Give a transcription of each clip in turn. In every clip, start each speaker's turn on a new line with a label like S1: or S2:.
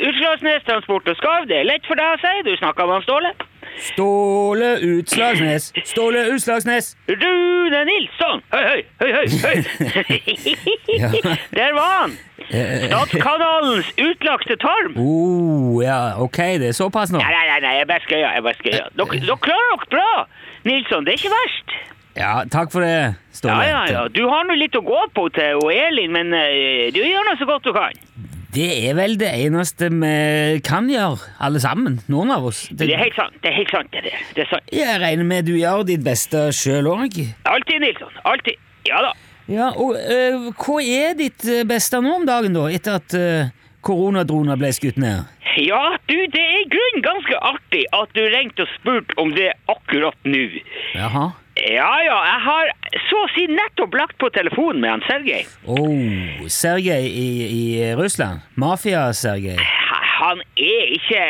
S1: Utslagsnes Transport og Skarv, det er lett for deg å si, du snakker med han Ståle.
S2: Ståle Utslagsnes. Ståle Utslagsnes.
S1: Rune Nilsson! Høy, høy, høy, høy!
S2: Ja.
S1: høy. Der var han! Statskanalens utlagte tarm.
S2: Eh, Oh, ja, ok, det er såpass nå.
S1: Nei, nei, nei, nei, jeg bare skøyer. jeg bare
S2: Eh,
S1: skøyer. Dere, dere klarer dere bra, Nilsson. Det er ikke verst.
S2: Ja, takk for det, Ståle.
S1: Ja, ja, ja. Du har nå litt å gå på til og Elin, men eh, du gjør nå så godt du kan.
S2: Det er vel det eneste vi kan gjøre, alle sammen. Noen av oss. Det-
S1: Det er helt sant. Det er helt sant, det der. Det er sant.
S2: Jeg regner med du gjør ditt beste sjøl òg.
S1: Alltid, Nilsson. Alltid. Ja da.
S2: Ja, og eh, hva er ditt eh, beste nå om dagen, da? Etter at eh, koronadroner ble skutt ned?
S1: Ja, du, det er i grunnen ganske artig at du ringte og spurte om det akkurat nå.
S2: Jaha.
S1: Ja, ja, jeg har så å si nettopp lagt på telefonen med han Sergej.
S2: Oh, Sergej i, i Russland? Mafia-Sergej?
S1: Han er ikke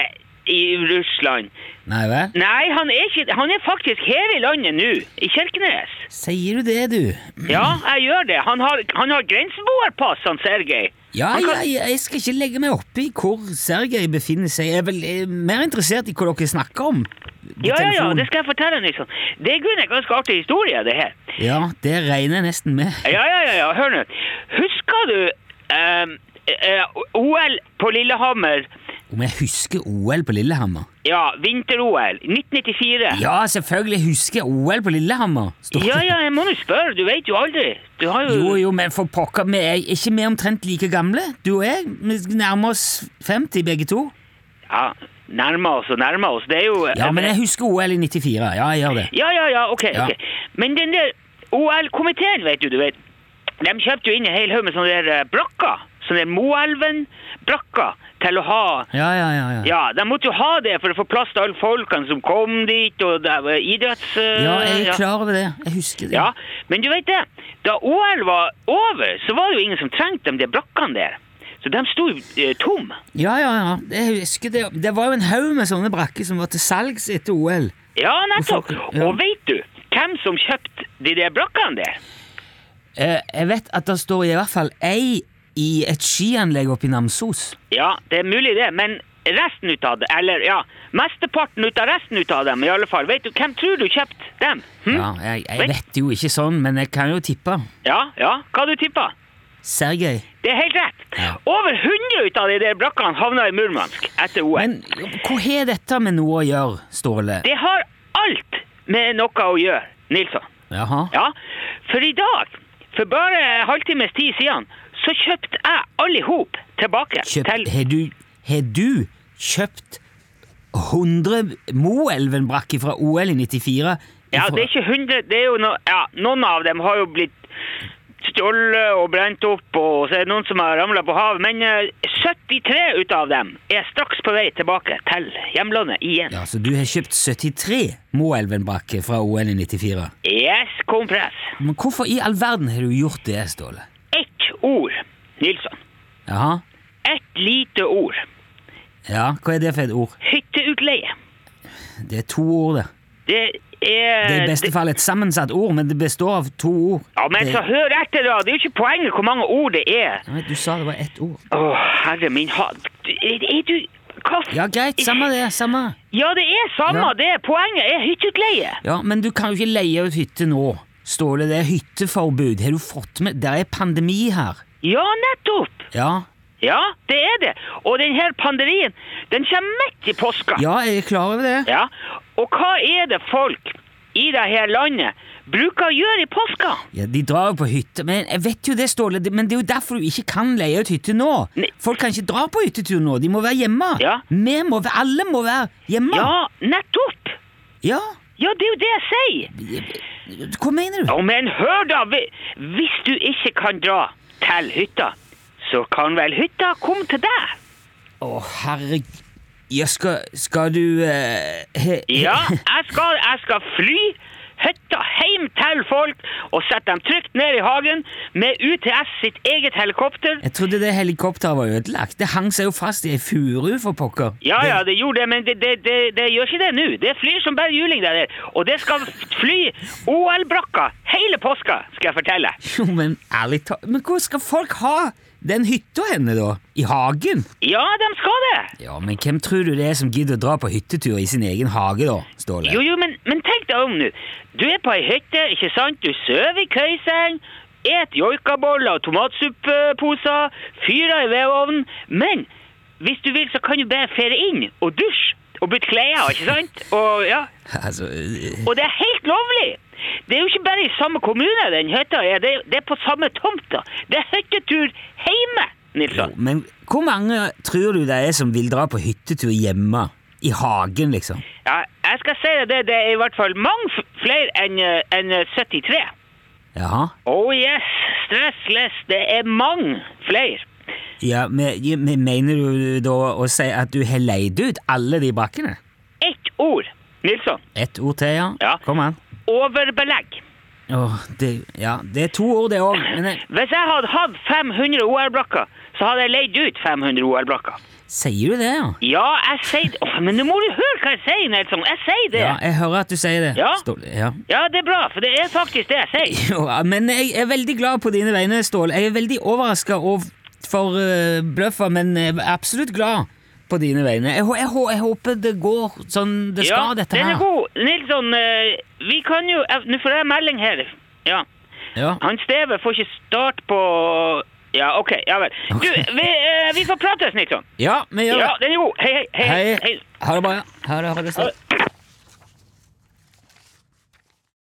S1: i Russland.
S2: Nei vel?
S1: Nei, han er, ikke, han er faktisk her i landet nå, i Kirkenes.
S2: Sier du det, du?
S1: Ja, jeg gjør det. Han har, han har grenseboerpass, han Sergej.
S2: Ja,
S1: Han kan-
S2: ja, ja, jeg skal ikke legge meg opp i hvor Sergej befinner seg. Jeg er vel eh, mer interessert i hva dere snakker om. på
S1: Ja, ja, ja,
S2: telefonen.
S1: det skal jeg fortelle, Nilsson. Det er i grunnen en ganske artig historie, det her.
S2: Ja, det regner jeg nesten med.
S1: Ja, ja, ja, ja. hør nå. Husker du eh, eh, OL på Lillehammer?
S2: Om jeg husker OL på Lillehammer?
S1: Ja, vinter-OL. 1994.
S2: Ja, selvfølgelig husker jeg OL på Lillehammer. Står det.
S1: Ja, ja, jeg må jo spørre. Du vet jo aldri. Du har jo...
S2: Jo, jo, men for pokker, vi er ikke vi omtrent like gamle, du og jeg? Vi nærmer oss 50 begge to.
S1: Ja, nærmer oss og nærmer oss. Det er jo...
S2: Ja, men jeg husker OL i 94. Ja, jeg gjør det.
S1: Ja, ja, ja, ok.
S2: Ja.
S1: ok. Men den der OL-komiteen, vet du, du vet, de kjøpte jo inn en hel haug med sånne der eh, brakker. Sånne der Moelven-brakker til å ha...
S2: Ja, ja, ja. ja.
S1: Ja, de måtte jo ha det for å få plass til alle folkene som kom dit, og det var idretts... eh,
S2: Ja, jeg
S1: ja.
S2: er klar over det. Jeg husker det.
S1: Ja, men du vet det, da OL var over, så var det jo ingen som trengte de der brakkene der. Så de sto jo eh, tom.
S2: ja, ja. ja. Jeg husker det. Det var jo en haug med sånne brakker som var til salgs etter OL.
S1: Ja, nettopp.
S2: Og folk- ja.
S1: Og vet du hvem som kjøpte de der brakkene der?
S2: Eh, jeg vet at det står i hvert fall ei i et skianlegg oppe i Namsos.
S1: Ja, det er mulig det, men resten ut av det, eller ja, mesteparten ut av resten ut av dem i alle fall. Vet du, hvem tror du kjøpte dem? Hm?
S2: Ja, jeg, jeg
S1: Vet-
S2: vet jo ikke sånn, men jeg kan jo tippe.
S1: Ja, ja, hva du tippa?
S2: Sergej.
S1: Det er helt rett.
S2: Ja.
S1: Over 100 ut av de der brakkene havna i Murmansk etter OL.
S2: Men hva har dette med noe å gjøre, Ståle?
S1: Det har alt med noe å gjøre, Nilsson.
S2: Jaha.
S1: Ja, for i dag, for bare en halvtimes tid siden, så kjøpte jeg alle hop tilbake
S2: Kjøpt,
S1: til
S2: har, du, har du kjøpt 100 Moelven-brakker fra OL i 94?
S1: Ja,
S2: Ifra-
S1: det er ikke 100, det er jo no, ja, noen av dem har jo blitt stjålet og brent opp, og så er det noen som har ramla på havet. Men eh, 73 ut av dem er straks på vei tilbake til hjemlandet igjen.
S2: Ja, Så du har kjøpt 73 Moelven-brakker fra OL i 94?
S1: Yes, kompress.
S2: Men hvorfor i all verden har du gjort det, Ståle?
S1: Ett ord, Nilsson.
S2: Jaha?
S1: Ett lite ord.
S2: Ja, hva er det for et ord?
S1: Hytteutleie.
S2: Det er to ord, det.
S1: Det er
S2: Det er i beste fall et sammensatt ord, men det består av to ord.
S1: Eh, Ja, men
S2: det,
S1: så hør etter, da. Det er jo ikke poenget hvor mange ord det er.
S2: Nei, Du sa det var ett ord.
S1: Å, herre min hatt. Er, er du Hva f-
S2: Ja, greit, samme det, samme.
S1: Ja, det er samme
S2: Ja.
S1: det. Poenget er hytteutleie.
S2: Ja, men du kan jo ikke leie ut hytte nå. Ståle, det er hytteforbud. Har du fått med Det er pandemi her.
S1: Ja, nettopp.
S2: Ja,
S1: Ja, det er det. Og den her pandemien, den kommer midt i påska.
S2: ja jeg er klar over det.
S1: Ja. Og hva er det folk i det her landet bruker å gjøre i påska?
S2: Ja, De drar jo på hytte, men jeg vet jo det, Ståle, det- men det er jo derfor du ikke kan leie ut hytte nå.
S1: Nei.
S2: Folk kan ikke dra på hyttetur nå, de må være hjemme.
S1: Ja.
S2: Vi må være, alle må være hjemme.
S1: Ja, nettopp.
S2: Ja.
S1: Ja, det er jo det jeg sier.
S2: Hva mener du?
S1: Ja, men hør, da. vi- Hvis du ikke kan dra til hytta, så kan vel hytta komme til deg?
S2: Å, herregud. Ja, skal, skal du eh, he, he-
S1: Ja, jeg skal, jeg skal fly hytta hjem til folk og sette dem trygt ned i hagen med UTS sitt eget helikopter.
S2: Jeg trodde det helikopteret var ødelagt. Det hang seg jo fast i ei furu, for pokker.
S1: Ja, ja, det gjorde det, men det, det, det, det gjør ikke det nå. Det flyr som bare juling, det der. Og det skal fly OL-brakka hele påska, skal jeg fortelle.
S2: Jo, men ærlig talt Men hvor skal folk ha den hytta henne, da? I hagen?
S1: Ja, de skal det!
S2: Ja, men hvem tror du det er som gidder å dra på hyttetur i sin egen hage, da, Ståle?
S1: Jo, jo, men, men tenk deg om nå. Du er på ei hytte, ikke sant? Du sover i køyseng, et joikaboller og tomatsuppeposer, fyrer i vedovnen. Men hvis du vil, så kan du bare fere inn og dusje og bytte klær, ikke sant? Og, ja.
S2: Altså, øh,
S1: og det er helt lovlig! Det er jo ikke bare i samme kommune den hytta er, det, det er på samme tomta. Det er hyttetur hjemme,
S2: jo,
S1: Nilsson.
S2: men hvor mange tror du det er som vil dra på hyttetur hjemme? I hagen, liksom?
S1: Ja, jeg skal si deg det, det er i hvert fall mange f- flere enn eh, enn, eh, 73.
S2: Jaha?
S1: Oh yes, stressless, det er mange flere.
S2: Ja, men, ja, men mener du da å si at du har leid ut alle de brakkene?
S1: Ett ord, Nilsson.
S2: Ett ord til, ja.
S1: Ja.
S2: Kom an.
S1: Overbelegg.
S2: Åh, det, ja, det er to ord, det òg. Men eh, jeg,
S1: Hvis jeg hadde hatt 500 OL-blakker, så hadde jeg leid ut 500 OL-blakker.
S2: sier du det, ja?
S1: Ja, jeg sier det. Åh, Men nå må du høre hva jeg sier, Nilsson. Jeg sier det.
S2: Ja,
S1: Ja.
S2: jeg hører at du sier det.
S1: Ja.
S2: Ståle, ja.
S1: det er bra, for det er faktisk det jeg sier.
S2: Jo, men jeg er veldig glad på dine vegne, Ståle. Jeg er veldig overraska og for eh, bløffa, men jeg er absolutt glad på dine vegne. Jeg, hå- jeg, hå- jeg håper det går sånn det skal,
S1: ja,
S2: dette
S1: den
S2: her.
S1: er god. Nilsson, eh, vi kan jo eh, Nå får jeg melding her. Ja.
S2: Ja.
S1: Han Steve får ikke start på Ja, OK. Ja vel. Du, vi, eh, vi får prates, Nilsson.
S2: ja, vi gjør
S1: Ja,
S2: det.
S1: den er god. Hei, hei. hei, hei.
S2: Ha det bra. Ha det, ha det, Ståle.
S1: hei.